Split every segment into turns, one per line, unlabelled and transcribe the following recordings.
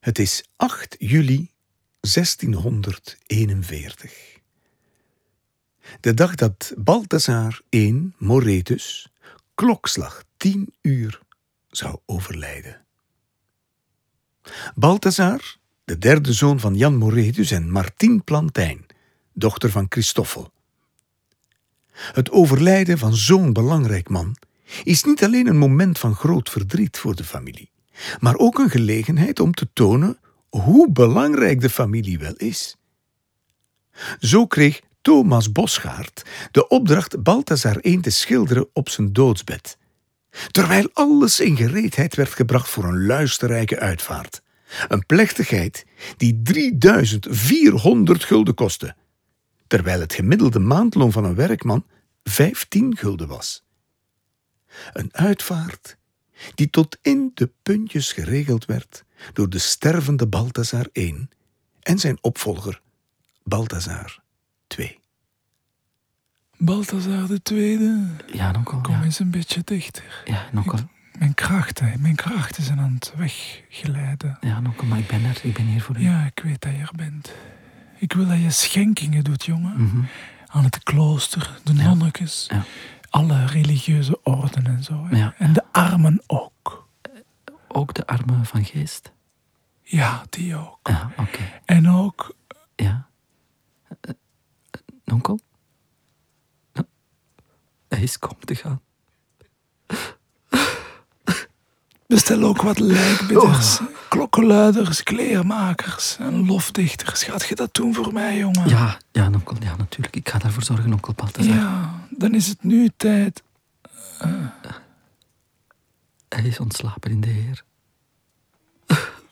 Het is 8 juli 1641. De dag dat Balthazar I Moretus klokslag 10 uur zou overlijden. Balthazar, de derde zoon van Jan Moretus en Martien Plantijn, dochter van Christoffel. Het overlijden van zo'n belangrijk man is niet alleen een moment van groot verdriet voor de familie maar ook een gelegenheid om te tonen hoe belangrijk de familie wel is. Zo kreeg Thomas Bosgaard de opdracht Balthazar I te schilderen op zijn doodsbed, terwijl alles in gereedheid werd gebracht voor een luisterrijke uitvaart. Een plechtigheid die 3400 gulden kostte, terwijl het gemiddelde maandloon van een werkman 15 gulden was. Een uitvaart die tot in de puntjes geregeld werd door de stervende Balthazar I en zijn opvolger Balthazar II.
Balthazar II,
Ja, dan kom,
kom
ja.
eens een beetje dichter.
Ja, dan kom.
Mijn krachten, mijn krachten zijn aan het wegglijden.
Ja, dan kom, maar ik ben er. Ik ben hier voor u.
Ja, ik weet dat je er bent. Ik wil dat je schenkingen doet, jongen.
Mhm.
Aan het klooster, de nonnetjes,
Ja.
alle religieuze orden en zo. hè.
Ja.
En de armen ook.
Ook de armen van geest.
Ja, die ook.
Ja, oké.
En ook,
Ja. Eh, eh, onkel? Eh, Hij is kom te gaan.
bestel ook wat lijkbidders,
Oh.
klokkenluiders, kleermakers en lofdichters. Gaat je dat doen voor mij, jongen?
Ja, ja, onkel. Ja, natuurlijk. Ik ga daarvoor zorgen, onkel Balthazar.
Ja, dan is het nu tijd.
Hij is ontslapen in de heer.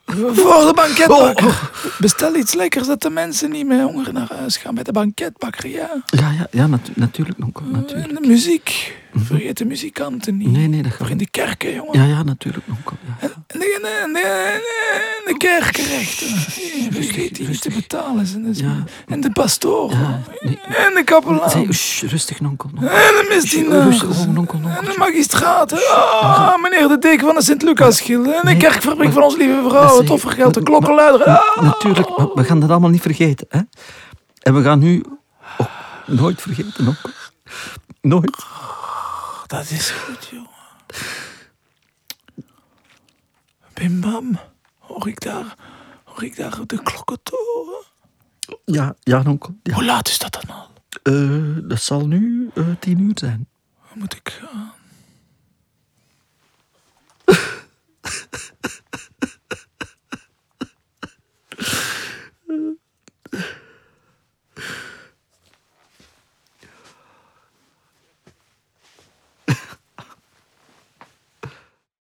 Voor de banketbakker. Oh, Bestel iets lekkers dat de mensen niet meer honger naar huis gaan bij de banketbakker, ja.
Ja, ja, ja natu- natuurlijk, onkel. Natuurlijk.
En de muziek. Vergeet de muzikanten niet.
Nee, nee, dat
Voor
gaat
in
niet.
de kerken, jongen.
Ja, ja, natuurlijk, onkel. Ja, ja.
En de, en de, en de, en de kerkenrechten. Vergeet die niet te betalen. En de,
Ja.
en de pastoor.
Ja, nee.
En de kapelaan.
Zij- Sst, rustig, onkel.
En
onkel.
de misdienaar.
Rustig, onkel, onkel.
En de magistraat. Ah, meneer de deken van de Sint-Lucas-gilde. En de
Nee,
kerkfabriek
maar-
van onze lieve
maar
vrouw. Het
zij-
offergeld, de
maar-
klokkenluider. Ah.
Natuurlijk, maar we gaan dat allemaal niet vergeten. Hè? En we gaan nu ook nooit vergeten. Ook. Nooit.
Dat is goed, jongen. Bim bam, hoor ik daar, hoor ik daar de klokkentoren?
Ja, ja onkel. Ja.
Hoe laat is dat dan al?
Eh, dat zal nu eh, tien uur zijn.
Waar moet ik eh, gaan?